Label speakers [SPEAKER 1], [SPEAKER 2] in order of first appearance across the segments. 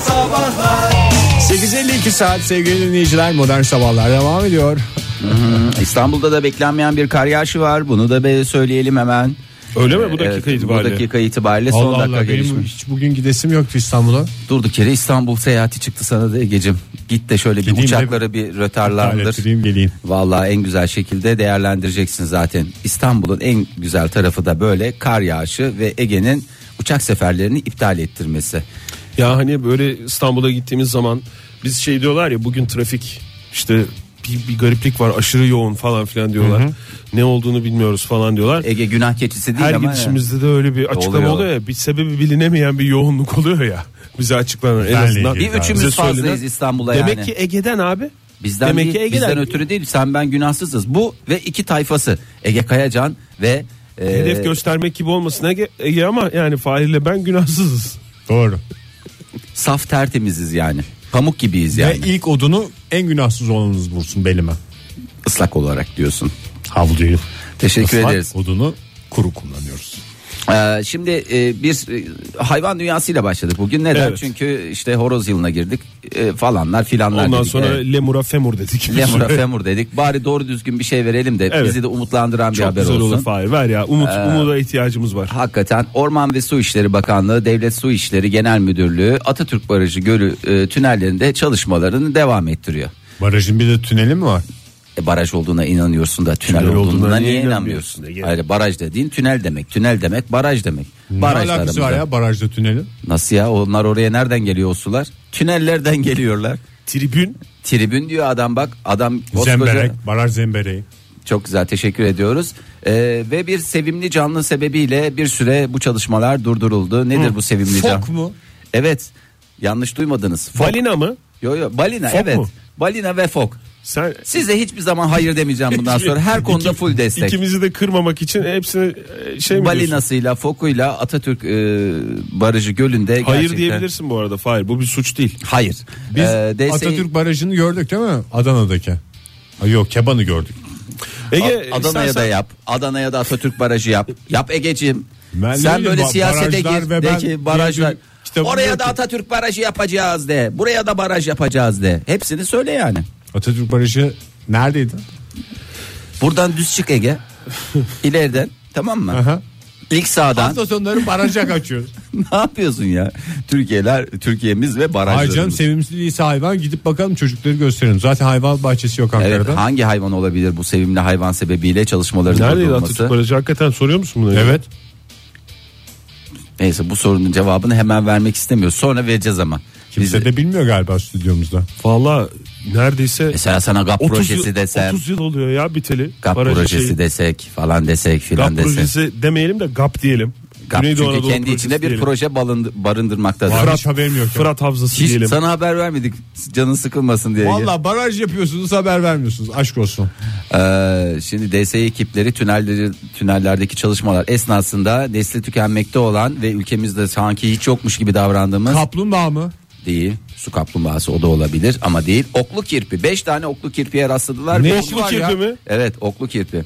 [SPEAKER 1] Sabahlar
[SPEAKER 2] 8.52 saat sevgili dinleyiciler modern sabahlar devam ediyor.
[SPEAKER 3] İstanbul'da da beklenmeyen bir kar yağışı var. Bunu da be söyleyelim hemen.
[SPEAKER 4] Öyle mi bu dakika
[SPEAKER 3] Evet,
[SPEAKER 4] itibariyle?
[SPEAKER 3] Bu dakika itibariyle son
[SPEAKER 2] Allah
[SPEAKER 3] dakika
[SPEAKER 2] Allah
[SPEAKER 3] gelişme.
[SPEAKER 2] benim hiç bugün gidesim yoktu İstanbul'a.
[SPEAKER 3] Durduk yere İstanbul seyahati çıktı sana da Ege'cim. Git de şöyle
[SPEAKER 2] Gideyim
[SPEAKER 3] bir
[SPEAKER 2] de
[SPEAKER 3] uçakları bir rötarlandır.
[SPEAKER 2] Hallettireyim geleyim.
[SPEAKER 3] Vallahi en güzel şekilde değerlendireceksin zaten. İstanbul'un en güzel tarafı da böyle kar yağışı ve Ege'nin uçak seferlerini iptal ettirmesi.
[SPEAKER 4] Ya hani böyle İstanbul'a gittiğimiz zaman biz şey diyorlar ya bugün trafik işte bir, bir gariplik var aşırı yoğun falan filan diyorlar. Ne olduğunu bilmiyoruz falan diyorlar.
[SPEAKER 3] Ege günah keçisi değil
[SPEAKER 4] Her
[SPEAKER 3] E, ama E,
[SPEAKER 4] gidişimizde de öyle bir açıklama
[SPEAKER 3] Oluyor.
[SPEAKER 4] oluyor. ya. Bir sebebi bilinemeyen bir yoğunluk oluyor ya. Bize açıklanan en
[SPEAKER 2] Benle
[SPEAKER 4] azından.
[SPEAKER 2] ilgili
[SPEAKER 3] Bir üçümüz
[SPEAKER 4] Bize
[SPEAKER 3] fazlayız
[SPEAKER 4] söylenen-
[SPEAKER 3] İstanbul'a
[SPEAKER 4] Demek
[SPEAKER 3] yani.
[SPEAKER 4] ki Ege'den abi.
[SPEAKER 3] Bizden
[SPEAKER 4] Demek
[SPEAKER 3] değil,
[SPEAKER 4] ki Ege'den.
[SPEAKER 3] bizden ötürü değil. Sen ben günahsızız. Bu ve iki tayfası Ege Kayacan ve e,
[SPEAKER 4] Hedef göstermek gibi olmasın Ege, Ege ama yani Fahir'le ben günahsızız.
[SPEAKER 2] Doğru.
[SPEAKER 3] saf tertemiziz yani. Pamuk gibiyiz yani.
[SPEAKER 2] Ve ilk odunu en günahsız olanınız vursun belime.
[SPEAKER 3] Islak olarak diyorsun.
[SPEAKER 2] Havluyu.
[SPEAKER 3] Teşekkür
[SPEAKER 2] Islak
[SPEAKER 3] ederiz.
[SPEAKER 2] odunu kuru kullanıyoruz.
[SPEAKER 3] Ee, şimdi e, bir e, hayvan dünyasıyla başladık bugün. Neden?
[SPEAKER 4] Evet.
[SPEAKER 3] Çünkü işte horoz yılına girdik e, falanlar filanlar
[SPEAKER 4] Ondan
[SPEAKER 3] dedik.
[SPEAKER 4] sonra
[SPEAKER 3] Evet.
[SPEAKER 4] Lemur'a Femur dedik.
[SPEAKER 3] Lemur'a femur dedik. Bari doğru düzgün bir şey verelim de
[SPEAKER 4] Evet.
[SPEAKER 3] bizi de umutlandıran bir
[SPEAKER 4] Çok
[SPEAKER 3] haber
[SPEAKER 4] güzel
[SPEAKER 3] olsun. Ee,
[SPEAKER 4] olur Fahir ver ya. Umut, umuda ihtiyacımız var.
[SPEAKER 3] Hakikaten Orman ve Su İşleri Bakanlığı, Devlet Su İşleri Genel Müdürlüğü Atatürk Barajı Gölü e, tünellerinde çalışmalarını devam ettiriyor.
[SPEAKER 2] Barajın bir de tüneli mi var?
[SPEAKER 3] E, baraj olduğuna inanıyorsun da tünel,
[SPEAKER 4] Tünel
[SPEAKER 3] olduğuna,
[SPEAKER 4] olduğuna
[SPEAKER 3] niye
[SPEAKER 4] niye
[SPEAKER 3] inanmıyorsun?
[SPEAKER 4] inanmıyorsun?
[SPEAKER 3] Hayır baraj dediğin tünel demek. Tünel demek baraj demek. baraj
[SPEAKER 2] ne alakası var ya barajda tüneli?
[SPEAKER 3] Nasıl ya onlar oraya nereden geliyor o sular? Tünellerden geliyorlar.
[SPEAKER 4] Tribün
[SPEAKER 3] Tribün diyor adam bak adam koskoca-
[SPEAKER 2] Zemberek, baraj zembereği.
[SPEAKER 3] Çok güzel teşekkür ediyoruz. Ee, ve bir sevimli canlı sebebiyle bir süre bu çalışmalar durduruldu. Nedir bu sevimli
[SPEAKER 2] Fok
[SPEAKER 3] canlı?
[SPEAKER 2] mu?
[SPEAKER 3] Evet. Yanlış duymadınız. Fok.
[SPEAKER 4] balina mı?
[SPEAKER 3] Yo yo balina
[SPEAKER 4] Fok
[SPEAKER 3] evet.
[SPEAKER 4] mu?
[SPEAKER 3] Balina ve fok.
[SPEAKER 4] Sen
[SPEAKER 3] Size hiçbir zaman hayır demeyeceğim bundan sonra. Her konuda
[SPEAKER 4] İki-
[SPEAKER 3] full destek.
[SPEAKER 4] İkimizi de kırmamak için hepsini e, şey mi diyorsun?
[SPEAKER 3] Balinasıyla, fokuyla Atatürk e, Barajı Gölü'nde
[SPEAKER 4] Hayır
[SPEAKER 3] gerçekten-
[SPEAKER 4] diyebilirsin bu arada. Hayır bu bir suç değil.
[SPEAKER 3] Hayır.
[SPEAKER 2] Biz
[SPEAKER 3] Ee, DSİ
[SPEAKER 2] Atatürk Barajı'nı gördük değil mi? Adana'daki. Ha, yok Keban'ı gördük.
[SPEAKER 4] Ege
[SPEAKER 3] A- Adana'ya
[SPEAKER 4] istersen-
[SPEAKER 3] da yap. Adana'ya da Atatürk Barajı yap. Yap Egeciğim.
[SPEAKER 2] Ben
[SPEAKER 3] Sen
[SPEAKER 2] değilim,
[SPEAKER 3] böyle
[SPEAKER 2] ba-
[SPEAKER 3] siyasete
[SPEAKER 2] barajlar
[SPEAKER 3] gir
[SPEAKER 2] ve
[SPEAKER 3] de
[SPEAKER 2] ben
[SPEAKER 3] ki barajlar.
[SPEAKER 2] bir gün kitabımı
[SPEAKER 3] Oraya da
[SPEAKER 2] okudum.
[SPEAKER 3] Atatürk Barajı yapacağız de. Buraya da baraj yapacağız de. Hepsini söyle yani.
[SPEAKER 2] Atatürk Barajı neredeydi?
[SPEAKER 3] Buradan düz çık Ege. İleriden tamam mı?
[SPEAKER 2] Aha.
[SPEAKER 3] İlk sağdan.
[SPEAKER 2] Hafta sonları baraja kaçıyoruz.
[SPEAKER 3] ne yapıyorsun ya? Türkiyeler, Türkiye'miz ve
[SPEAKER 2] Ay canım
[SPEAKER 3] barajlarımız.
[SPEAKER 2] sevimsiz değilse hayvan gidip bakalım çocukları gösterelim. Zaten hayvan bahçesi yok
[SPEAKER 3] Evet,
[SPEAKER 2] Ankara'da.
[SPEAKER 3] hangi hayvan olabilir bu sevimli hayvan sebebiyle çalışmaların
[SPEAKER 4] Neredeydi
[SPEAKER 3] durdurulması?
[SPEAKER 4] Atatürk Barajı? Hakikaten soruyor musun bunu? Ege?
[SPEAKER 2] Evet.
[SPEAKER 3] Neyse bu sorunun cevabını hemen vermek istemiyoruz. Sonra vereceğiz ama.
[SPEAKER 2] Kimse
[SPEAKER 3] Biz-
[SPEAKER 2] de bilmiyor galiba stüdyomuzda.
[SPEAKER 4] Valla neredeyse
[SPEAKER 3] Mesela sana GAP E,
[SPEAKER 4] 30
[SPEAKER 3] projesi
[SPEAKER 4] yıl,
[SPEAKER 3] desem.
[SPEAKER 4] 30 yıl oluyor ya biteli.
[SPEAKER 3] GAP
[SPEAKER 4] Barajı
[SPEAKER 3] projesi
[SPEAKER 4] şey-
[SPEAKER 3] desek falan desek filan
[SPEAKER 4] GAP
[SPEAKER 3] desek.
[SPEAKER 4] projesi demeyelim de GAP diyelim.
[SPEAKER 3] GAP
[SPEAKER 4] Güneydoğu
[SPEAKER 3] çünkü
[SPEAKER 4] Anadolu
[SPEAKER 3] kendi
[SPEAKER 4] projesi
[SPEAKER 3] içinde bir
[SPEAKER 4] diyelim.
[SPEAKER 3] proje balındı- barındırmaktadır.
[SPEAKER 2] Var.
[SPEAKER 4] Fırat,
[SPEAKER 2] Hiç haberim yok ya.
[SPEAKER 4] Fırat Havzası
[SPEAKER 3] Hiç
[SPEAKER 4] diyelim.
[SPEAKER 3] sana haber vermedik canın sıkılmasın diye.
[SPEAKER 2] Valla baraj yapıyorsunuz haber vermiyorsunuz. Aşk olsun.
[SPEAKER 3] Ee, şimdi DSE ekipleri tünelleri, tünellerdeki çalışmalar esnasında nesli tükenmekte olan ve ülkemizde sanki hiç yokmuş gibi davrandığımız
[SPEAKER 2] Kaplumbağa mı?
[SPEAKER 3] değil. Su kaplumbağası o da olabilir ama değil. Oklu kirpi. 5 tane oklu kirpiye rastladılar.
[SPEAKER 2] Ne
[SPEAKER 3] Ve-
[SPEAKER 2] işi var
[SPEAKER 4] kirpi
[SPEAKER 2] ya?
[SPEAKER 4] mi?
[SPEAKER 3] Evet oklu kirpi.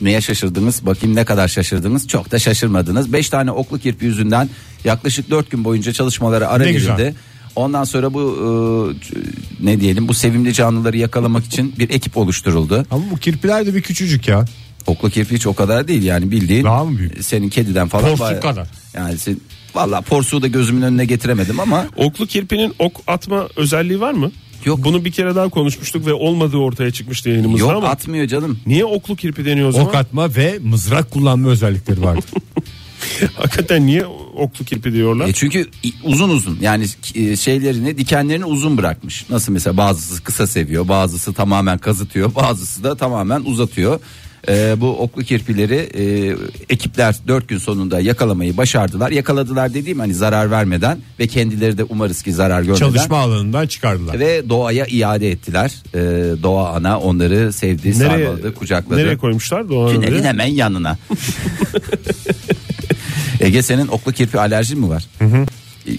[SPEAKER 3] Neye şaşırdınız? Bakayım ne kadar şaşırdınız? Çok da şaşırmadınız. 5 tane oklu kirpi yüzünden yaklaşık 4 gün boyunca çalışmalara ara
[SPEAKER 2] Ne güzel.
[SPEAKER 3] verildi. Ondan sonra bu e, c- ne diyelim bu sevimli canlıları yakalamak için bir ekip oluşturuldu.
[SPEAKER 2] Ama bu kirpiler de bir küçücük ya.
[SPEAKER 3] Oklu kirpi hiç o kadar değil yani bildiğin.
[SPEAKER 2] Daha mı büyük?
[SPEAKER 3] Senin kediden falan.
[SPEAKER 2] Porsuk
[SPEAKER 3] bayağı-
[SPEAKER 2] kadar.
[SPEAKER 3] Yani sen, valla porsuğu da gözümün önüne getiremedim ama
[SPEAKER 4] Oklu kirpinin ok atma özelliği var mı?
[SPEAKER 3] Yok.
[SPEAKER 4] Bunu bir kere daha konuşmuştuk ve olmadığı ortaya çıkmıştı yayınımızda
[SPEAKER 3] yok
[SPEAKER 4] ama.
[SPEAKER 3] atmıyor canım.
[SPEAKER 4] Niye oklu kirpi deniyor o zaman?
[SPEAKER 2] Ok atma ve mızrak kullanma özellikleri vardı.
[SPEAKER 4] Hakikaten niye oklu kirpi diyorlar?
[SPEAKER 3] E çünkü i- uzun uzun yani e, şeylerini dikenlerini uzun bırakmış. Nasıl mesela bazısı kısa seviyor, bazısı tamamen kazıtıyor, bazısı da tamamen uzatıyor. E, bu oklu kirpileri e, ekipler 4 gün sonunda yakalamayı başardılar. Yakaladılar dediğim hani zarar vermeden ve kendileri de umarız ki zarar görmeden.
[SPEAKER 2] Çalışma alanından çıkardılar.
[SPEAKER 3] Ve doğaya iade ettiler. E, doğa ana onları sevdi, sarmaladı, kucakladı.
[SPEAKER 4] Nereye koymuşlar? Doğru
[SPEAKER 3] Tünelin
[SPEAKER 4] oraya?
[SPEAKER 3] hemen yanına. Ege senin oklu kirpi alerjin mi var?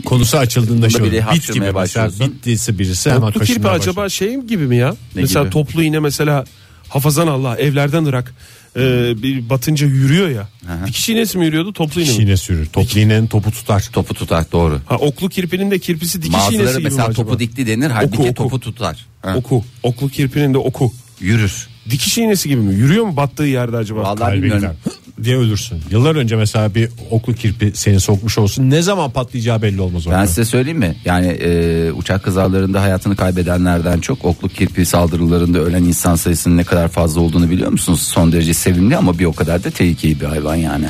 [SPEAKER 2] Konusu açıldığında şey
[SPEAKER 3] Bile
[SPEAKER 2] olur. bit
[SPEAKER 3] hapşırmaya
[SPEAKER 2] gibi mesela
[SPEAKER 3] başlıyorsun.
[SPEAKER 2] bittiyse birisi hemen
[SPEAKER 4] Toplu kirpi
[SPEAKER 2] kaşınmaya
[SPEAKER 4] acaba
[SPEAKER 2] başlar.
[SPEAKER 4] şey gibi mi ya?
[SPEAKER 3] Ne
[SPEAKER 4] mesela
[SPEAKER 3] gibi?
[SPEAKER 4] toplu iğne mesela hafazan Allah evlerden ırak e, bir batınca yürüyor ya. Dikiş iğnesi mi yürüyordu? Toplu iğne şey mi?
[SPEAKER 2] Şine sürür. Toplu iğnenin topu tutar.
[SPEAKER 3] Topu tutar doğru.
[SPEAKER 4] Ha oklu kirpinin de kirpisi dikiş iğnesi
[SPEAKER 3] Bazıları
[SPEAKER 4] gibi
[SPEAKER 3] mesela
[SPEAKER 4] mi acaba?
[SPEAKER 3] topu dikti denir halbuki
[SPEAKER 4] Oku, oku.
[SPEAKER 3] topu tutar. Ha,
[SPEAKER 4] Oku. Oklu kirpinin de oku.
[SPEAKER 3] Yürür.
[SPEAKER 4] Dikiş iğnesi gibi mi? Yürüyor mu battığı yerde acaba?
[SPEAKER 3] Vallahi bilmiyorum.
[SPEAKER 2] Kalbinden diye ölürsün. Yıllar önce mesela bir oklu kirpi seni sokmuş olsun. Ne zaman patlayacağı belli olmaz orada.
[SPEAKER 3] Ben size söyleyeyim mi? Yani e, uçak kazalarında hayatını kaybedenlerden çok okluk kirpi saldırılarında ölen insan sayısının ne kadar fazla olduğunu biliyor musunuz? Son derece sevimli ama bir o kadar da tehlikeli bir hayvan yani.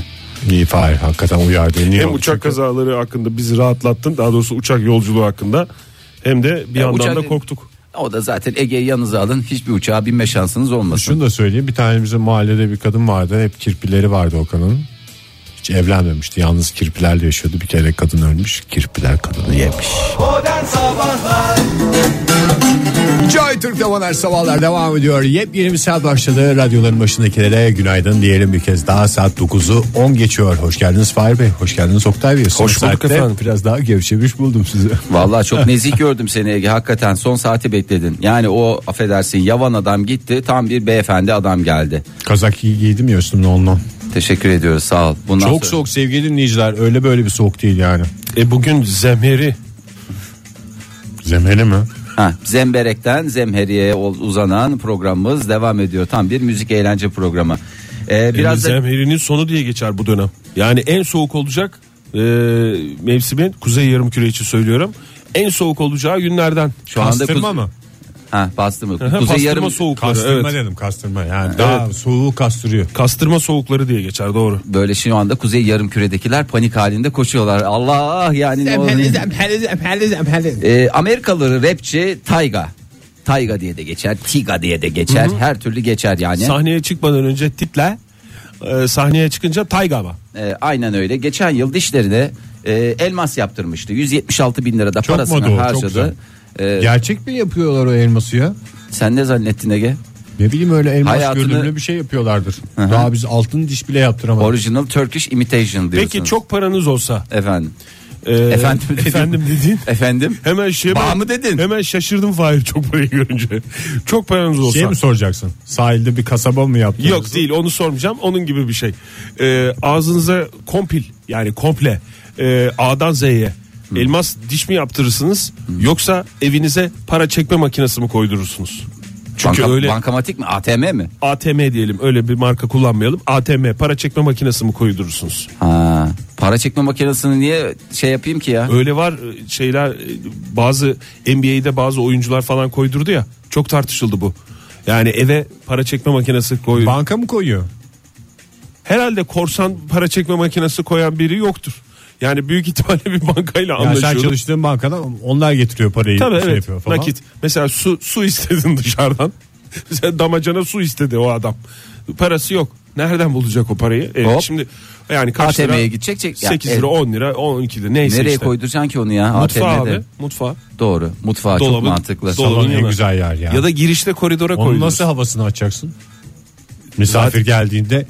[SPEAKER 2] İyi Fahir hakikaten uyardı. Niye
[SPEAKER 4] Hem
[SPEAKER 2] oldu?
[SPEAKER 4] uçak kazaları hakkında bizi rahatlattın. Daha doğrusu uçak yolculuğu hakkında. Hem de bir yandan
[SPEAKER 3] uçak-
[SPEAKER 4] da korktuk.
[SPEAKER 3] O da zaten Ege'yi yanınıza alın hiçbir uçağa binme şansınız olmasın.
[SPEAKER 2] Şunu da söyleyeyim bir tane bizim mahallede bir kadın vardı hep kirpileri vardı o kadının. Hiç evlenmemişti yalnız kirpilerle yaşıyordu bir kere kadın ölmüş kirpiler kadını yemiş. Joy Türk'te modern sabahlar devam ediyor. Yepyeni bir saat başladı. Radyoların başındakilere günaydın diyelim bir kez daha saat 9'u 10 geçiyor. Hoş geldiniz Fahir Bey, hoş geldiniz Oktay Bey. Son
[SPEAKER 4] Hoş bulduk
[SPEAKER 2] saatte
[SPEAKER 4] efendim.
[SPEAKER 2] Biraz daha gevşemiş buldum sizi.
[SPEAKER 3] Vallahi çok nezih gördüm seni Ege. Hakikaten son saati bekledin. Yani o affedersin yavan adam gitti. Tam bir beyefendi adam geldi.
[SPEAKER 2] Kazak giy- giydim ya üstümde ondan.
[SPEAKER 3] Teşekkür ediyoruz sağ ol. Bundan
[SPEAKER 2] Çok
[SPEAKER 3] sonra-
[SPEAKER 2] soğuk sevgili dinleyiciler öyle böyle bir soğuk değil yani.
[SPEAKER 4] E bugün zemheri
[SPEAKER 2] Zemeli mi?
[SPEAKER 3] Ha, zemberekten zemheriye ol- uzanan programımız devam ediyor. Tam bir müzik eğlence programı. Ee, biraz da
[SPEAKER 4] zemherinin sonu diye geçer bu dönem. Yani en soğuk olacak e, mevsimin kuzey yarım küre için söylüyorum. En soğuk olacağı günlerden.
[SPEAKER 3] Şu anda
[SPEAKER 2] Kastırma
[SPEAKER 3] kuz-
[SPEAKER 2] mı?
[SPEAKER 3] ha, bastı mı?
[SPEAKER 4] Aha,
[SPEAKER 3] Kuzey
[SPEAKER 4] kastırma
[SPEAKER 3] yarım
[SPEAKER 4] soğukları.
[SPEAKER 2] Kastırma
[SPEAKER 4] evet.
[SPEAKER 2] dedim kastırma yani daha soğuğu kastırıyor.
[SPEAKER 4] Kastırma soğukları diye geçer doğru.
[SPEAKER 3] böyle şu anda kuzey yarım küredekiler panik halinde koşuyorlar. Allah yani ne oluyor? Ee, Amerikalı rapçi Tayga. Tayga diye de geçer, Tiga diye de geçer. Her türlü geçer yani.
[SPEAKER 4] Sahneye çıkmadan önce tiple e, sahneye çıkınca tayga mı?
[SPEAKER 3] Ee, aynen öyle. Geçen yıl dişlerine e, elmas yaptırmıştı. 176 bin lirada
[SPEAKER 2] Çok
[SPEAKER 3] parasını
[SPEAKER 2] moda o, çok
[SPEAKER 3] harcadı. Ee,
[SPEAKER 2] Gerçek mi yapıyorlar o elması ya?
[SPEAKER 3] sen ne zannettin Ege?
[SPEAKER 2] Ne bileyim öyle elmas
[SPEAKER 3] Hayatını-
[SPEAKER 2] görünümlü bir şey yapıyorlardır. Daha biz altın diş bile yaptıramadık.
[SPEAKER 3] Original Turkish Imitation diyorsunuz.
[SPEAKER 4] Peki çok paranız olsa
[SPEAKER 3] Efendim.
[SPEAKER 4] e,
[SPEAKER 3] Efendim dedim.
[SPEAKER 4] efendim dediğin
[SPEAKER 3] Efendim?
[SPEAKER 4] hemen şey
[SPEAKER 3] Bağ mı dedin?
[SPEAKER 4] Hemen şaşırdım Fahir çok parayı görünce. çok paranız olsa.
[SPEAKER 2] şey mi soracaksın? Sahilde bir kasaba mı yaptınız?
[SPEAKER 4] Yok değil onu sormayacağım. Onun gibi bir şey. Ee, ağzınıza kompil yani komple e, A'dan Z'ye elmas diş mi yaptırırsınız yoksa evinize para çekme makinesi mi koydurursunuz? Çünkü
[SPEAKER 3] Banka-
[SPEAKER 4] öyle
[SPEAKER 3] Bankamatik mi? ATM mi?
[SPEAKER 4] ATM diyelim öyle bir marka kullanmayalım. ATM para çekme makinesi mi koydurursunuz?
[SPEAKER 3] Ha, para çekme makinesini niye şey yapayım ki ya?
[SPEAKER 4] Öyle var e, şeyler e, bazı NBA'de bazı oyuncular falan koydurdu ya. Çok tartışıldı bu. Yani eve para çekme makinesi koy.
[SPEAKER 2] Banka mı koyuyor?
[SPEAKER 4] Herhalde korsan para çekme makinesi koyan biri yoktur. Yani büyük ihtimalle bir bankayla
[SPEAKER 2] Yani sen
[SPEAKER 4] anlaşıyordu.
[SPEAKER 2] çalıştığın bankadan onlar getiriyor parayı.
[SPEAKER 4] Tabii
[SPEAKER 2] şey
[SPEAKER 4] evet
[SPEAKER 2] yapıyor falan.
[SPEAKER 4] nakit. Mesela su, su istedin dışarıdan. Mesela damacana su istedi o adam. Parası yok. Nereden bulacak o parayı? Evet,
[SPEAKER 3] Hop.
[SPEAKER 4] şimdi yani kaç
[SPEAKER 3] ATM'ye
[SPEAKER 4] lira?
[SPEAKER 3] gidecek, çek- ya,
[SPEAKER 4] 8
[SPEAKER 3] evet.
[SPEAKER 4] lira 10 lira 12 lira neyse
[SPEAKER 3] Nereye
[SPEAKER 4] işte.
[SPEAKER 3] koyduracaksın ki onu ya?
[SPEAKER 4] Mutfağa
[SPEAKER 3] ATM'de.
[SPEAKER 4] abi mutfağa.
[SPEAKER 3] Doğru. Mutfağa çok
[SPEAKER 4] Dolabın-
[SPEAKER 3] mantıklı.
[SPEAKER 4] dolabın
[SPEAKER 2] Salon en
[SPEAKER 4] yanı.
[SPEAKER 2] güzel yer ya.
[SPEAKER 4] Ya da girişte koridora
[SPEAKER 2] Onun
[SPEAKER 4] koydunuz.
[SPEAKER 2] nasıl havasını açacaksın? Misafir geldiğinde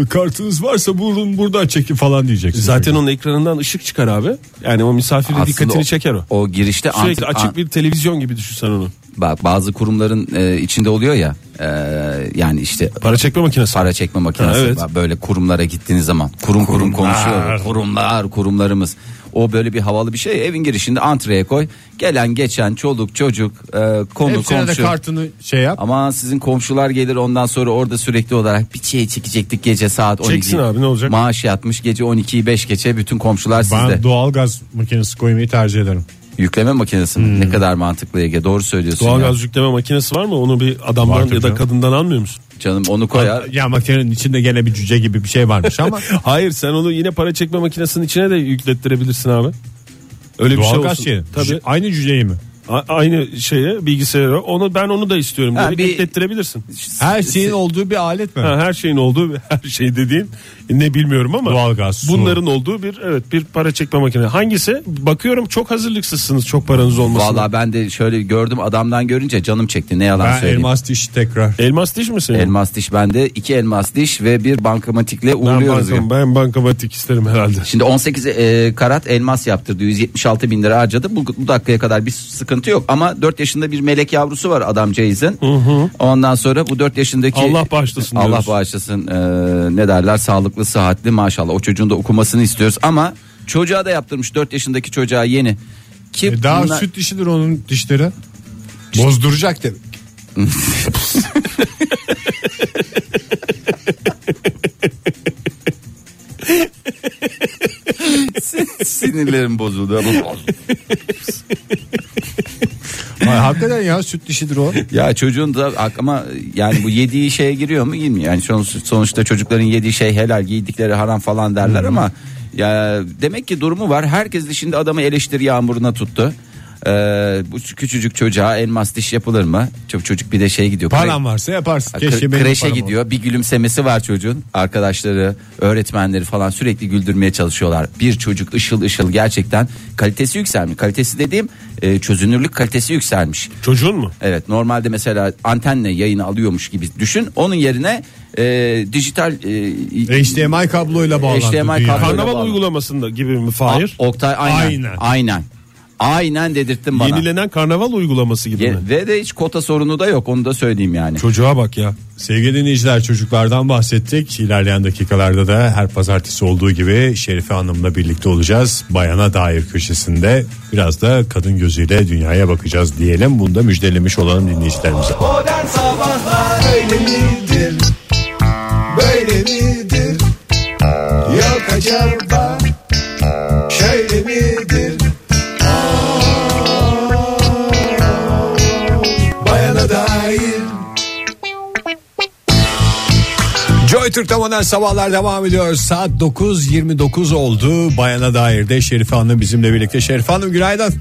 [SPEAKER 2] "E, kartınız varsa buyurun buradan çekin falan diyeceksin.
[SPEAKER 4] Zaten onun ekranından ışık çıkar abi. Yani o misafirin
[SPEAKER 3] Aslında
[SPEAKER 4] dikkatini çeker o.
[SPEAKER 3] O girişte
[SPEAKER 4] Sürekli
[SPEAKER 3] antik-
[SPEAKER 4] açık bir televizyon gibi düşünsen onu.
[SPEAKER 3] bak bazı kurumların e, içinde oluyor ya e, yani işte
[SPEAKER 4] Para çekme makinesi.
[SPEAKER 3] para çekme makinesi
[SPEAKER 4] Ha, evet.
[SPEAKER 3] var. böyle kurumlara gittiğiniz zaman kurum kurum konuşuyor kurumlar kurumlarımız o böyle bir havalı bir şey evin girişinde antreye koy gelen geçen çoluk çocuk e, konu
[SPEAKER 2] Hepsine de
[SPEAKER 3] komşu
[SPEAKER 2] kartını şey yap.
[SPEAKER 3] Ama sizin komşular gelir ondan sonra orada sürekli olarak bir şey çekecektik gece saat 12.
[SPEAKER 4] Çeksin abi, ne olacak?
[SPEAKER 3] Maaş yatmış gece 12'yi 5 geçe bütün komşular
[SPEAKER 2] Ben
[SPEAKER 3] sizde.
[SPEAKER 2] doğalgaz makinesi koymayı tercih ederim.
[SPEAKER 3] Yükleme makinesi mi? Ne kadar mantıklı Ege doğru söylüyorsun ya.
[SPEAKER 4] Hmm. Doğalgaz yükleme makinesi var mı? Onu bir adamdan
[SPEAKER 2] Var tabii
[SPEAKER 4] ya da
[SPEAKER 2] canım.
[SPEAKER 4] kadından almıyor musun?
[SPEAKER 3] Canım onu koyar.
[SPEAKER 2] Ya makinenin içinde gene bir cüce gibi bir şey varmış ama
[SPEAKER 4] Hayır sen onu yine para çekme makinesinin içine de yüklettirebilirsin abi. Öyle bir şey
[SPEAKER 2] doğalgaz
[SPEAKER 4] olsun.
[SPEAKER 2] şey.
[SPEAKER 4] Tabii.
[SPEAKER 2] Aynı cüceyi mi?
[SPEAKER 4] A- aynı şeye bilgisayara onu ben onu da istiyorum
[SPEAKER 3] Ha,
[SPEAKER 4] diyerek
[SPEAKER 3] bir-
[SPEAKER 4] yüklettirebilirsin.
[SPEAKER 2] Her şeyin olduğu bir alet mi?
[SPEAKER 4] Ha, her şeyin olduğu her şey dediğin ne bilmiyorum ama
[SPEAKER 2] Doğalgaz, su.
[SPEAKER 4] bunların olduğu bir evet bir para çekme makinesi. Hangisi? Bakıyorum çok hazırlıksızsınız çok paranız olmasın.
[SPEAKER 3] Valla ben de şöyle gördüm adamdan görünce canım çekti ne yalan
[SPEAKER 2] Ben
[SPEAKER 3] söyleyeyim. Elmas...
[SPEAKER 2] elmas dişi tekrar.
[SPEAKER 4] Elmas diş mi senin?
[SPEAKER 3] diş bende iki elmas diş ve bir bankamatikle
[SPEAKER 4] ben,
[SPEAKER 3] uğurluyoruz.
[SPEAKER 4] bankam, ben bankamatik isterim herhalde.
[SPEAKER 3] Şimdi 18 e, karat elmas yaptırdı 176 bin lira harcadı bu, bu dakikaya kadar bir sıkıntı sıkıntı yok ama 4 yaşında bir melek yavrusu var adamcağızın. Ondan sonra bu 4 yaşındaki
[SPEAKER 4] Allah bağışlasın
[SPEAKER 3] Allah
[SPEAKER 4] diyoruz.
[SPEAKER 3] bağışlasın e, ne derler sağlıklı sıhhatli maşallah o çocuğun da okumasını istiyoruz ama çocuğa da yaptırmış 4 yaşındaki çocuğa yeni. Ki
[SPEAKER 2] E, daha
[SPEAKER 3] bunlar-
[SPEAKER 2] süt dişidir onun dişleri. Bozduracak demek.
[SPEAKER 3] sinirlerim bozuldu.
[SPEAKER 2] Ay, hakikaten ya süt dişidir o.
[SPEAKER 3] ya çocuğun da ama yani bu yediği şeye giriyor mu girmiyor. Yani sonuç- sonuçta çocukların yediği şey helal giydikleri haram falan derler ama ya demek ki durumu var. Herkes de şimdi adamı eleştiri yağmuruna tuttu. Ee, bu küçücük çocuğa elmas diş yapılır mı? Çocuk, çocuk bir de şey gidiyor.
[SPEAKER 2] Paran varsa yaparsın.
[SPEAKER 3] Kre-
[SPEAKER 2] Keşke benim
[SPEAKER 3] kreşe
[SPEAKER 2] param olsa.
[SPEAKER 3] gidiyor. Bir gülümsemesi var çocuğun. Arkadaşları, öğretmenleri falan sürekli güldürmeye çalışıyorlar. Bir çocuk ışıl ışıl gerçekten kalitesi yükselmiş. Kalitesi dediğim e, çözünürlük kalitesi yükselmiş.
[SPEAKER 4] Çocuğun mu?
[SPEAKER 3] Evet normalde mesela antenle yayını alıyormuş gibi düşün. Onun yerine e, dijital e,
[SPEAKER 2] HDMI kabloyla bağlandı.
[SPEAKER 3] HDMI
[SPEAKER 2] dünya.
[SPEAKER 3] kablo-
[SPEAKER 4] Karnaval
[SPEAKER 3] bağlı.
[SPEAKER 4] uygulamasında gibi mi Fahir?
[SPEAKER 3] A- Oktay aynen.
[SPEAKER 4] Aynen.
[SPEAKER 3] Aynen. Aynen. dedirttin bana.
[SPEAKER 4] Yenilenen karnaval uygulaması gibi
[SPEAKER 3] Ye-
[SPEAKER 4] mi?
[SPEAKER 3] Ve de hiç kota sorunu da yok onu da söyleyeyim yani.
[SPEAKER 4] Çocuğa bak ya.
[SPEAKER 2] Sevgili dinleyiciler çocuklardan bahsettik. İlerleyen dakikalarda da her pazartesi olduğu gibi Şerife Hanım'la birlikte olacağız. Bayana dair köşesinde biraz da kadın gözüyle dünyaya bakacağız diyelim. Bunu da müjdelemiş olalım dinleyicilerimize.
[SPEAKER 1] Modern Sabahlar Böyle midir? Böyle midir? Yok acaba Şöyle midir? Aa, Bayana dair
[SPEAKER 2] Joy Türk'te modern sabahlar devam ediyor. Saat 9.29 oldu. Bayana dair de Şerife Hanım bizimle birlikte. Şerife Hanım günaydın.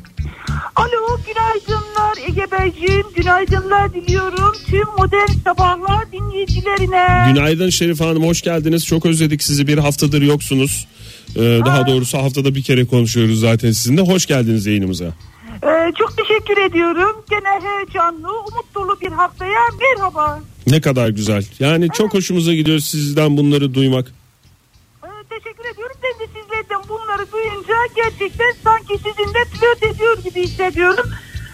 [SPEAKER 5] Alo günaydınlar Ege Beyciğim günaydınlar diliyorum tüm modern sabahlar dinleyicilerine.
[SPEAKER 4] Günaydın Şerif Hanım hoş geldiniz. Çok özledik sizi bir haftadır yoksunuz. Ee, daha doğrusu haftada bir kere konuşuyoruz zaten sizinle. Hoş geldiniz yayınımıza.
[SPEAKER 5] Ee, çok teşekkür ediyorum gene heyecanlı umut dolu bir haftaya merhaba.
[SPEAKER 4] Ne kadar güzel. Yani çok hoşumuza gidiyor sizden bunları duymak.
[SPEAKER 5] Ee, teşekkür ediyorum ben de sizlerden bunları duyunca gerçekten sanki sizinle flört ediyor gibi hissediyorum.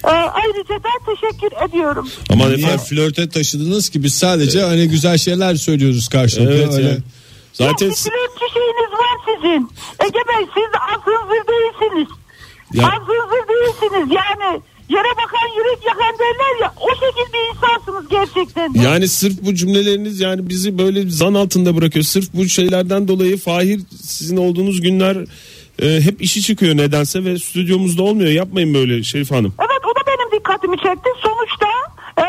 [SPEAKER 5] Ee, ayrıca da teşekkür ediyorum.
[SPEAKER 4] Aman
[SPEAKER 6] Niye
[SPEAKER 4] efendim.
[SPEAKER 6] flörte taşıdınız ki biz sadece hani güzel şeyler söylüyoruz karşılıklı.
[SPEAKER 4] Evet
[SPEAKER 6] öyle.
[SPEAKER 4] ya. Zaten
[SPEAKER 5] Yok, bir flörtçü şeyiniz var sizin. Ege Bey siz az hızlı değilsiniz.
[SPEAKER 4] Ya-
[SPEAKER 5] Az hızlı değilsiniz yani. Yere bakan yürek yakan derler ya o şekilde insansınız gerçekten.
[SPEAKER 4] yani sırf bu cümleleriniz yani bizi böyle zan altında bırakıyor. Sırf bu şeylerden dolayı Fahir sizin olduğunuz günler e, hep işi çıkıyor nedense ve stüdyomuzda olmuyor. Yapmayın böyle Şerif Hanım.
[SPEAKER 5] Evet o da benim dikkatimi çekti. Sonuçta e,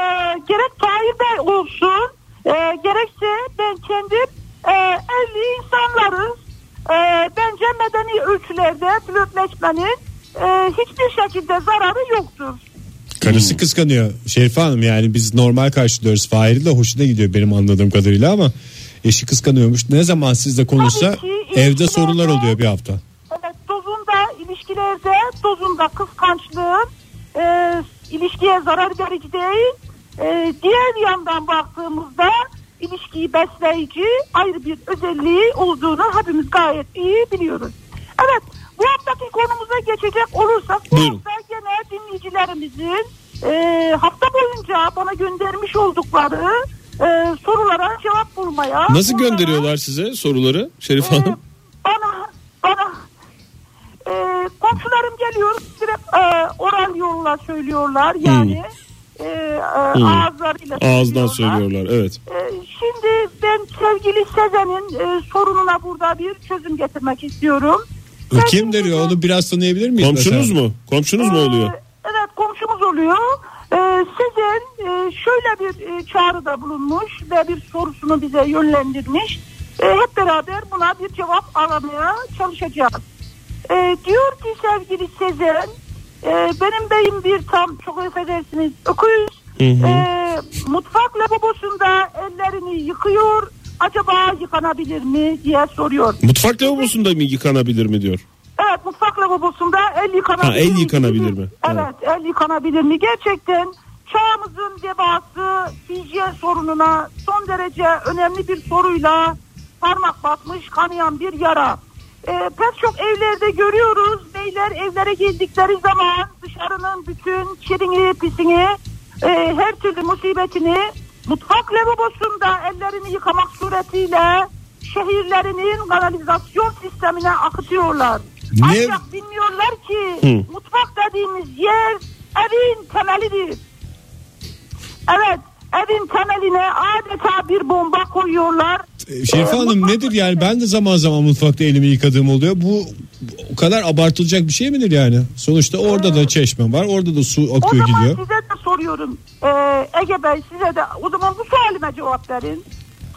[SPEAKER 5] gerek Fahir Bey olsun e, gerekse ben kendim e, evli insanlarız. E, bence medeni ölçülerde flörtleşmenin e, hiçbir şekilde zararı yoktur.
[SPEAKER 4] Hmm.
[SPEAKER 6] Karısı kıskanıyor Şerife Hanım yani biz normal karşılıyoruz. Fahri de hoşuna gidiyor benim anladığım kadarıyla ama eşi kıskanıyormuş. Ne zaman sizle konuşsa
[SPEAKER 5] Tabii ki,
[SPEAKER 6] evde
[SPEAKER 5] ilişkilerde-
[SPEAKER 6] sorular oluyor bir hafta.
[SPEAKER 5] Evet dozunda ilişkilerde dozunda kıskançlığın e, ilişkiye zarar verici değil. E, diğer yandan baktığımızda ilişkiyi besleyici ayrı bir özelliği olduğunu hepimiz gayet iyi biliyoruz. Evet bu haftaki konumuza geçecek olursak bu
[SPEAKER 4] Buyurun.
[SPEAKER 5] hafta gene dinleyicilerimizin e, hafta boyunca bana göndermiş oldukları e, sorulara cevap bulmaya.
[SPEAKER 4] Nasıl
[SPEAKER 5] onlara-
[SPEAKER 4] gönderiyorlar size soruları Şerif
[SPEAKER 5] ee,
[SPEAKER 4] Hanım?
[SPEAKER 5] bana bana ee, komşularım geliyor direkt e, oral yolla söylüyorlar yani e, e, ağızlarıyla
[SPEAKER 4] Ağızdan söylüyorlar evet.
[SPEAKER 5] Ee, şimdi ben sevgili Sezen'in e, sorununa burada bir çözüm getirmek istiyorum.
[SPEAKER 6] O
[SPEAKER 5] Sevgili
[SPEAKER 6] kim deriyor
[SPEAKER 5] Sezen-
[SPEAKER 6] onu biraz tanıyabilir miyiz?
[SPEAKER 4] Komşunuz
[SPEAKER 6] mesela?
[SPEAKER 4] mu? Komşunuz mu
[SPEAKER 5] ee,
[SPEAKER 4] oluyor?
[SPEAKER 5] Evet komşumuz oluyor. Ee, Sezen e, şöyle bir e, çağrıda bulunmuş ve bir sorusunu bize yönlendirmiş. Ee, hep beraber buna bir cevap aramaya çalışacağız. Ee, diyor ki sevgili Sezen, e, benim beyim bir tam çok affedersiniz öküz. Ee, mutfak lavabosunda ellerini yıkıyor. Acaba yıkanabilir mi diye soruyor.
[SPEAKER 4] Mutfak lavabosunda mı yıkanabilir mi diyor.
[SPEAKER 5] Evet mutfak lavabosunda el yıkanabilir
[SPEAKER 4] Ha, el yıkanabilir mi?
[SPEAKER 5] Evet el yıkanabilir mi? Gerçekten çağımızın devası hijyen sorununa son derece önemli bir soruyla parmak batmış kanayan bir yara. Ee, pek çok evlerde görüyoruz beyler evlere geldikleri zaman dışarı dışarının bütün çirini, pisini, e, her türlü musibetini mutfak lavabosunda ellerini yıkamak suretiyle şehirlerinin kanalizasyon sistemine akıtıyorlar.
[SPEAKER 6] Niye?
[SPEAKER 5] Ancak bilmiyorlar ki mutfak dediğimiz yer evin temelidir. Evet evin temeline adeta bir bomba koyuyorlar.
[SPEAKER 6] Ee, Şerife Hanım nedir yani ben de zaman zaman mutfakta elimi yıkadığım oluyor. Bu o kadar abartılacak bir şey midir yani? Sonuçta orada da çeşme var. Orada da su
[SPEAKER 5] O
[SPEAKER 6] akıyor
[SPEAKER 5] zaman
[SPEAKER 6] gidiyor.
[SPEAKER 5] size de soruyorum. Ee, Ege Bey size de o zaman bu sualime cevap verin.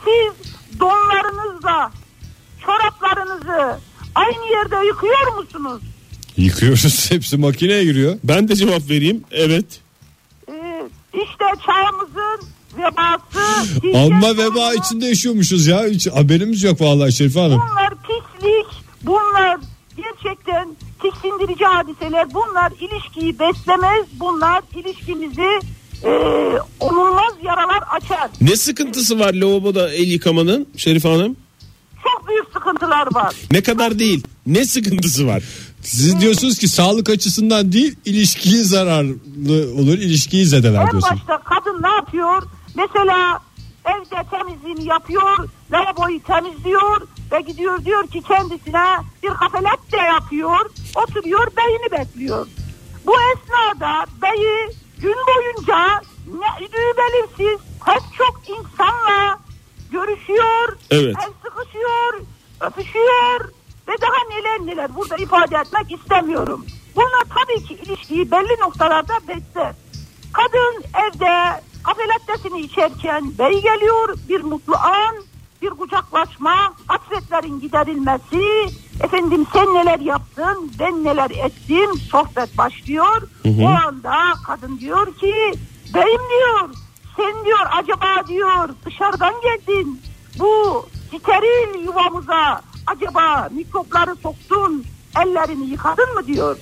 [SPEAKER 5] Siz donlarınızla çoraplarınızı aynı yerde yıkıyor musunuz?
[SPEAKER 6] Yıkıyoruz hepsi makineye giriyor.
[SPEAKER 4] Ben de cevap vereyim. Evet.
[SPEAKER 5] Ee, işte çağımızın vebası. hijyen
[SPEAKER 6] Alma
[SPEAKER 5] sorunu,
[SPEAKER 6] veba içinde yaşıyormuşuz ya. Hiç haberimiz yok vallahi Şerife Hanım.
[SPEAKER 5] Bunlar pislik. Bunlar gerçekten tiksindirici hadiseler. Bunlar ilişkiyi beslemez. Bunlar ilişkimizi e, onulmaz yaralar açar.
[SPEAKER 4] Ne sıkıntısı var lavaboda el yıkamanın Şerif Hanım?
[SPEAKER 5] Çok büyük sıkıntılar var.
[SPEAKER 4] Ne kadar değil. Ne sıkıntısı var?
[SPEAKER 6] Siz diyorsunuz ki sağlık açısından değil ilişkiye zararlı olur ilişkiyi zedeler
[SPEAKER 5] En
[SPEAKER 6] diyorsunuz.
[SPEAKER 5] başta kadın ne yapıyor? Mesela evde temizliğini yapıyor, lavaboyu temizliyor ve gidiyor diyor ki kendisine bir kafelet de yapıyor. Oturuyor beyini bekliyor. Bu esnada beyi gün boyunca ne idüğü belirsiz pek çok insanla görüşüyor,
[SPEAKER 4] Evet.
[SPEAKER 5] el sıkışıyor, öpüşüyor ve daha neler neler burada ifade etmek istemiyorum. Bunlar tabii ki ilişkiyi belli noktalarda besler. Kadın evde kafelattesini içerken bey geliyor bir mutlu an, bir kucaklaşma, hasretlerin giderilmesi, efendim sen neler yaptın, ben neler ettim, sohbet başlıyor. O anda kadın diyor ki, beyim diyor, sen diyor acaba diyor dışarıdan geldin, bu steril yuvamıza acaba mikropları soktun, ellerini yıkadın mı diyor.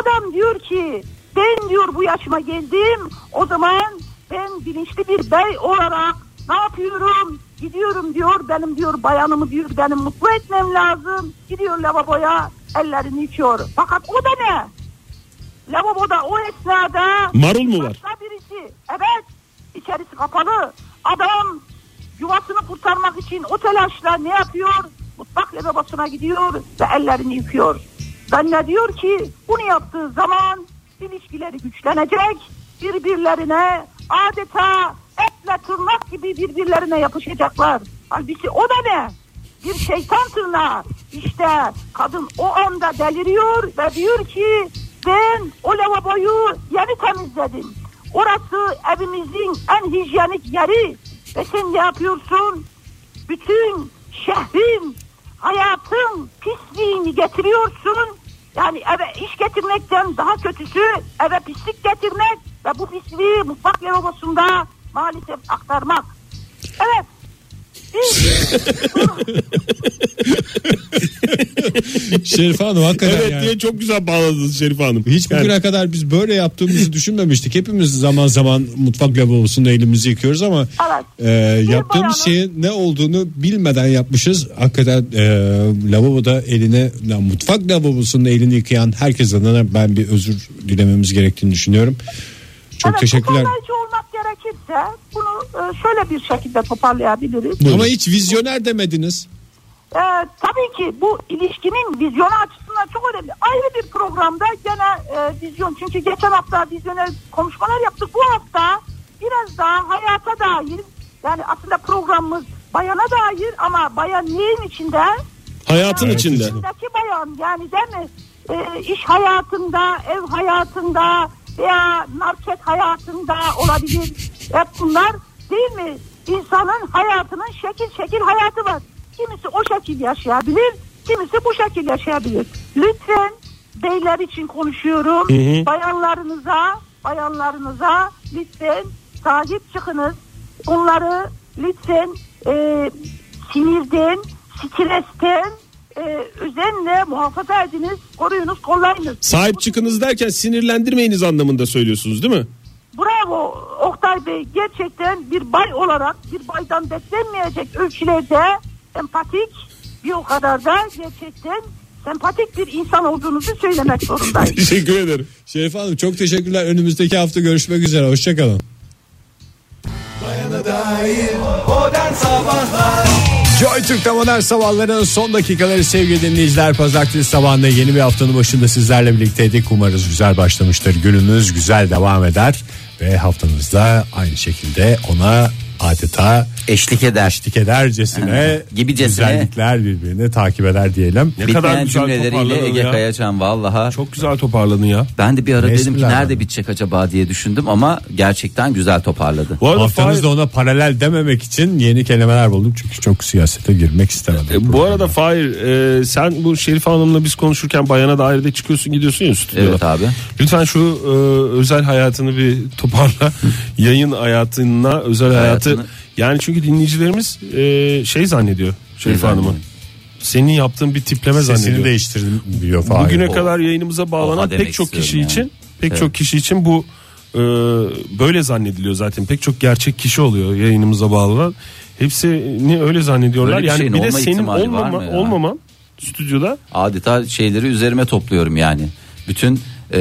[SPEAKER 5] Adam diyor ki ben diyor bu yaşıma geldim o zaman ben bilinçli bir bey olarak ne yapıyorum gidiyorum diyor benim diyor bayanımı diyor benim mutlu etmem lazım gidiyor lavaboya ellerini yıkıyor fakat o da ne lavaboda o esnada
[SPEAKER 4] Marul mu var?
[SPEAKER 5] Başka birisi. Evet. İçerisi kapalı. Adam yuvasını kurtarmak için o telaşla ne yapıyor? Mutfak lavabosuna gidiyor ve ellerini yıkıyor. Zannediyor ki bunu yaptığı zaman ilişkileri güçlenecek. Birbirlerine adeta etle tırnak gibi birbirlerine yapışacaklar. Halbuki o da ne? Bir şeytan tırnağı. İşte kadın o anda deliriyor ve diyor ki ben o lavaboyu yeni temizledim. Orası evimizin en hijyenik yeri. Ve sen ne yapıyorsun? Bütün şehrin, hayatın pisliğini getiriyorsun. Yani eve iş getirmekten daha kötüsü eve pislik getirmek ve bu pisliği mutfak lavabosunda maalesef aktarmak. Evet. Biz
[SPEAKER 6] Şerife Hanım hakikaten
[SPEAKER 4] Evet
[SPEAKER 6] yani.
[SPEAKER 4] diye çok güzel bağladınız Şerif Hanım.
[SPEAKER 6] Hiç
[SPEAKER 4] Yani
[SPEAKER 6] bugüne kadar biz böyle yaptığımızı düşünmemiştik. Hepimiz zaman zaman mutfak lavabosunda elimizi yıkıyoruz ama
[SPEAKER 5] Evet.
[SPEAKER 6] e,
[SPEAKER 5] Bir bayanın-
[SPEAKER 6] yaptığımız şeyin ne olduğunu bilmeden yapmışız. Hakikaten e, lavaboda elini, yani mutfak lavabosunda elini yıkayan herkes adına ben bir özür dilememiz gerektiğini düşünüyorum. Çok
[SPEAKER 5] evet,
[SPEAKER 6] teşekkürler.
[SPEAKER 5] toparlayıcı olmak gerekirse bunu e, şöyle bir şekilde toparlayabiliriz.
[SPEAKER 6] Ama hiç vizyoner demediniz.
[SPEAKER 5] Ee, tabii ki bu ilişkinin vizyonu açısından çok önemli. Ayrı bir programda gene e, vizyon. Çünkü geçen hafta vizyona konuşmalar yaptık. Bu hafta biraz daha hayata dair yani aslında programımız bayana dair ama bayan neyin içinde?
[SPEAKER 4] hayatın
[SPEAKER 5] Yani
[SPEAKER 4] içinde.
[SPEAKER 5] içindeki bayan yani değil mi? Ee, iş hayatında, ev hayatında veya market hayatında olabilir. Hep bunlar değil mi? İnsanın hayatının şekil şekil hayatı var. Kimisi o şekil yaşayabilir, kimisi bu şekil yaşayabilir. Lütfen beyler için konuşuyorum. Bayanlarınıza, bayanlarınıza lütfen sahip çıkınız. Onları lütfen e, sinirden, stresten e, özenle muhafaza ediniz, koruyunuz, kollayınız.
[SPEAKER 4] Sahip çıkınız derken sinirlendirmeyiniz anlamında söylüyorsunuz değil mi?
[SPEAKER 5] Bravo Oktay Bey gerçekten bir bay olarak bir baydan beklenmeyecek ölçülerde empatik bir o kadar da gerçekten sempatik bir insan olduğunuzu söylemek zorundayım.
[SPEAKER 6] Teşekkür ederim. Şerife Hanım çok teşekkürler. Önümüzdeki hafta görüşmek üzere. Hoşçakalın.
[SPEAKER 1] Bayana dair Modern Sabahlar
[SPEAKER 2] Joy Türk'te modern sabahların son dakikaları sevgili dinleyiciler. Pazartesi sabahında yeni bir haftanın başında sizlerle birlikteydik. Umarız güzel başlamıştır. Gününüz güzel devam eder. Ve haftanızda aynı şekilde ona adeta
[SPEAKER 3] Eşlik eder.
[SPEAKER 2] eşlik edercesine
[SPEAKER 3] Gibicesine.
[SPEAKER 2] güzellikler birbirini takip eder diyelim.
[SPEAKER 4] Ne kadar
[SPEAKER 3] Bitmeyen
[SPEAKER 4] güzel
[SPEAKER 3] cümleleriyle
[SPEAKER 4] toparladın
[SPEAKER 3] Ege
[SPEAKER 4] ya.
[SPEAKER 3] Kayaçan vallaha.
[SPEAKER 4] Çok güzel toparladın ya.
[SPEAKER 3] Ben de bir ara dedim ki
[SPEAKER 2] Espriler
[SPEAKER 3] nerede
[SPEAKER 2] var.
[SPEAKER 3] bitecek acaba diye düşündüm ama gerçekten güzel toparladı.
[SPEAKER 4] Bu arada Fahir-
[SPEAKER 2] Haftanızda ona paralel dememek için yeni kelimeler buldum. Çünkü çok siyasete girmek istemedim.
[SPEAKER 4] E, bu arada Fahir e, sen bu Şerif Hanım'la biz konuşurken bayana dair de çıkıyorsun gidiyorsun ya stüdyoda.
[SPEAKER 3] Evet abi.
[SPEAKER 4] Lütfen şu e, özel hayatını bir toparla. Yayın hayatına özel hayatı.
[SPEAKER 3] Hayatını.
[SPEAKER 4] Yani çünkü dinleyicilerimiz e, şey zannediyor Şerif
[SPEAKER 3] Şey zannediyor?
[SPEAKER 4] Hanım'ı. Senin yaptığın bir tipleme
[SPEAKER 2] sesini
[SPEAKER 4] zannediyor.
[SPEAKER 2] değiştirdim diyor Fahir.
[SPEAKER 4] Bugüne
[SPEAKER 3] O-
[SPEAKER 4] kadar yayınımıza
[SPEAKER 3] Oha
[SPEAKER 4] bağlanan
[SPEAKER 3] demek
[SPEAKER 4] pek çok
[SPEAKER 3] istiyorum
[SPEAKER 4] kişi
[SPEAKER 3] yani.
[SPEAKER 4] için pek çok kişi için bu e, böyle zannediliyor zaten. Pek çok gerçek kişi oluyor yayınımıza bağlanan. Hepsini öyle zannediyorlar.
[SPEAKER 3] Öyle bir
[SPEAKER 4] yani
[SPEAKER 3] şeyin
[SPEAKER 4] bir de
[SPEAKER 3] olma
[SPEAKER 4] senin
[SPEAKER 3] ihtimali var
[SPEAKER 4] olmama,
[SPEAKER 3] mı ya?
[SPEAKER 4] olmaman stüdyoda
[SPEAKER 3] Adeta şeyleri üzerime topluyorum yani. Bütün e,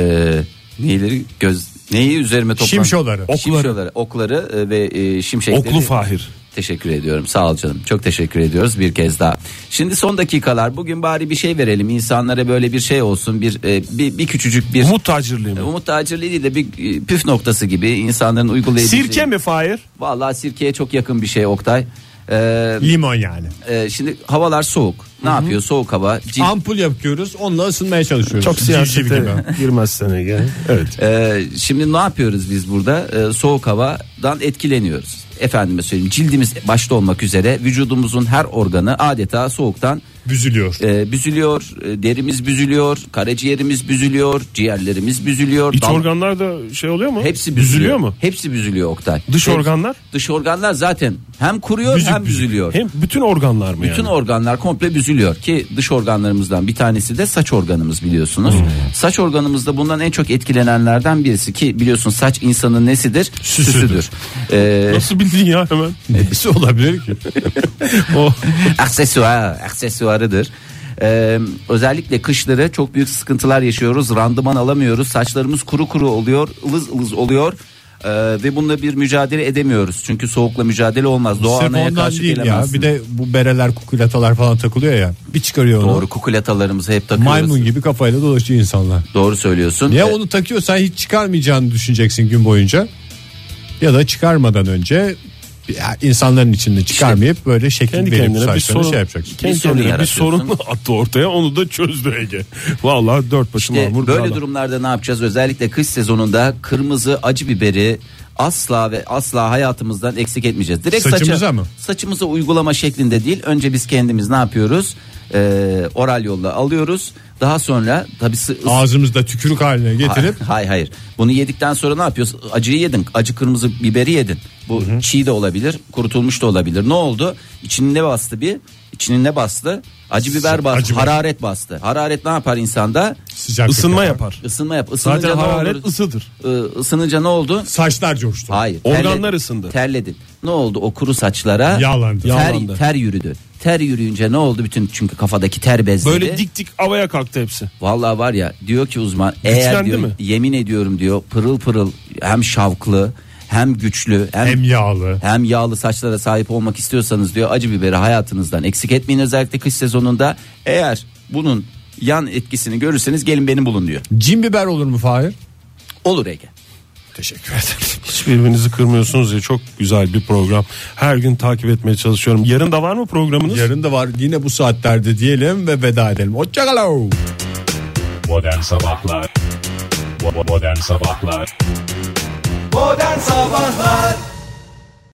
[SPEAKER 3] neyleri göz neyi üzerime topluyorum?
[SPEAKER 2] Şimşoları.
[SPEAKER 3] Okları. Şimşoları, okları e, ve e, şimşekleri.
[SPEAKER 4] oklu Fahir.
[SPEAKER 3] Teşekkür ediyorum. Sağ ol canım. Çok teşekkür ediyoruz bir kez daha. Şimdi son dakikalar. Bugün bari bir şey verelim. insanlara böyle bir şey olsun. Bir e, bir, bir küçücük bir
[SPEAKER 4] Umut tacirliği mi?
[SPEAKER 3] Umut Tacirli değil de bir e, püf noktası gibi insanların uygulayabileceği.
[SPEAKER 4] Sirke mi Fahir?
[SPEAKER 3] Vallahi sirkeye çok yakın bir şey Oktay. Ee,
[SPEAKER 2] Limon yani.
[SPEAKER 3] e, şimdi havalar soğuk. Ne yapıyor soğuk hava? Cilt,
[SPEAKER 2] Ampul yapıyoruz onunla ısınmaya çalışıyoruz.
[SPEAKER 4] Çok
[SPEAKER 2] Civciv gibi.
[SPEAKER 4] siyasete girmez sene gel. Evet.
[SPEAKER 3] Ee, şimdi ne yapıyoruz biz burada? Ee, soğuk havadan etkileniyoruz. Efendime söyleyeyim cildimiz başta olmak üzere vücudumuzun her organı adeta soğuktan
[SPEAKER 2] Büzülüyor.
[SPEAKER 3] e, büzülüyor. E, derimiz büzülüyor, karaciğerimiz büzülüyor, ciğerlerimiz büzülüyor.
[SPEAKER 4] İç
[SPEAKER 3] dam-
[SPEAKER 4] organlar da şey oluyor mu?
[SPEAKER 3] Hepsi büzülüyor.
[SPEAKER 4] büzülüyor mu?
[SPEAKER 3] Hepsi büzülüyor Oktay.
[SPEAKER 4] Dış
[SPEAKER 3] Hepsi-
[SPEAKER 4] organlar?
[SPEAKER 3] Dış organlar zaten hem kuruyor
[SPEAKER 2] Büzük
[SPEAKER 3] hem
[SPEAKER 2] büzük.
[SPEAKER 3] büzülüyor.
[SPEAKER 4] Hem bütün organlar mı
[SPEAKER 3] Bütün
[SPEAKER 4] yani?
[SPEAKER 3] organlar komple büzülüyor ki dış organlarımızdan bir tanesi de saç organımız biliyorsunuz.
[SPEAKER 2] Hmm.
[SPEAKER 3] Saç organımızda bundan en çok etkilenenlerden birisi ki biliyorsun saç insanın nesidir?
[SPEAKER 2] Süsüdür.
[SPEAKER 3] Ee,
[SPEAKER 4] Nasıl bildin ya hemen?
[SPEAKER 2] Nesi olabilir ki?
[SPEAKER 4] O
[SPEAKER 3] aksesuar, aksesuarıdır. Ee, özellikle kışları çok büyük sıkıntılar yaşıyoruz. Randıman alamıyoruz. Saçlarımız kuru kuru oluyor, ılız ılız oluyor. Ee, ve bununla bir mücadele edemiyoruz. Çünkü soğukla mücadele olmaz. Doğa
[SPEAKER 2] Sırf
[SPEAKER 3] anaya
[SPEAKER 2] ondan
[SPEAKER 3] karşı
[SPEAKER 2] değil ya.
[SPEAKER 3] gelemezsin.
[SPEAKER 2] Bir de bu bereler kukulatalar falan takılıyor ya. Bir çıkarıyor onu.
[SPEAKER 3] Doğru kukulatalarımızı hep takıyoruz.
[SPEAKER 2] Maymun gibi kafayla dolaşıyor insanlar.
[SPEAKER 3] Doğru söylüyorsun.
[SPEAKER 2] Ya
[SPEAKER 3] Ee,
[SPEAKER 2] onu takıyorsan hiç çıkarmayacağını düşüneceksin gün boyunca. Ya da çıkarmadan önce ya insanların içinde çıkarmayıp böyle şekil
[SPEAKER 4] kendi
[SPEAKER 2] verip
[SPEAKER 4] kendine bir
[SPEAKER 2] saçlarını
[SPEAKER 4] sorun.
[SPEAKER 2] şey yapacaksın.
[SPEAKER 4] Kendi
[SPEAKER 3] Bir sorun
[SPEAKER 4] kendine bir
[SPEAKER 3] yaratıyorsun.
[SPEAKER 4] sorun attı ortaya onu da çözdü Ege. Vallahi dört başı
[SPEAKER 3] İşte
[SPEAKER 4] mamur.
[SPEAKER 3] böyle
[SPEAKER 4] bir adam.
[SPEAKER 3] durumlarda ne yapacağız? Özellikle kış sezonunda kırmızı acı biberi asla ve asla hayatımızdan eksik etmeyeceğiz. Direkt saça-
[SPEAKER 2] Saçımıza mı?
[SPEAKER 3] Saçımıza uygulama şeklinde değil. Önce biz kendimiz ne yapıyoruz? Ee, oral yolla alıyoruz. Daha sonra tabii sı- ıs-
[SPEAKER 2] Ağzımızda tükürük haline getirip
[SPEAKER 3] Hayır hayır. Bunu yedikten sonra ne yapıyorsun? Acıyı yedin. Acı kırmızı biberi yedin. Bu çiğ de olabilir, kurutulmuş da olabilir. Ne oldu? İçine ne bastı bir? İçine ne bastı? Acı biber bastı,
[SPEAKER 2] acı biber.
[SPEAKER 3] hararet bastı. Hararet ne yapar insanda?
[SPEAKER 2] sıcak
[SPEAKER 4] Isınma yapar.
[SPEAKER 3] Isınma yap. Isınınca
[SPEAKER 4] Zaten
[SPEAKER 3] ne
[SPEAKER 4] hararet
[SPEAKER 3] olur?
[SPEAKER 4] ısıdır.
[SPEAKER 3] Ee, ısınınca ne oldu?
[SPEAKER 2] Saçlar coştu.
[SPEAKER 3] Hayır.
[SPEAKER 4] Organlar
[SPEAKER 3] terledin.
[SPEAKER 4] ısındı.
[SPEAKER 3] Terledin. Ne oldu? O kuru saçlara
[SPEAKER 2] Yağlandı.
[SPEAKER 3] Ter,
[SPEAKER 4] Yağlandı.
[SPEAKER 3] ter yürüdü. Ter yürüyünce ne oldu? Bütün çünkü kafadaki ter bezledi.
[SPEAKER 4] Böyle dik dik havaya kalktı hepsi.
[SPEAKER 3] Vallahi var ya diyor ki uzman eğer
[SPEAKER 4] Güçlendi
[SPEAKER 3] diyor,
[SPEAKER 4] mi?
[SPEAKER 3] yemin ediyorum diyor pırıl pırıl hem şavklı hem güçlü hem
[SPEAKER 2] Hem yağlı.
[SPEAKER 3] hem yağlı saçlara sahip olmak istiyorsanız diyor acı biberi hayatınızdan eksik etmeyin özellikle kış sezonunda. Eğer bunun yan etkisini görürseniz gelin beni bulun diyor.
[SPEAKER 2] Cin biber olur mu Fahir?
[SPEAKER 3] Olur Ege.
[SPEAKER 2] Teşekkür ederim.
[SPEAKER 4] Hiçbirinizi kırmıyorsunuz ya çok güzel bir program. Her gün takip etmeye çalışıyorum. Yarın da var mı programınız?
[SPEAKER 2] Yarın da var yine bu saatlerde diyelim ve veda edelim. Hoşçakalın.
[SPEAKER 7] Modern Sabahlar Bo- Modern Sabahlar
[SPEAKER 1] Modern Sabahlar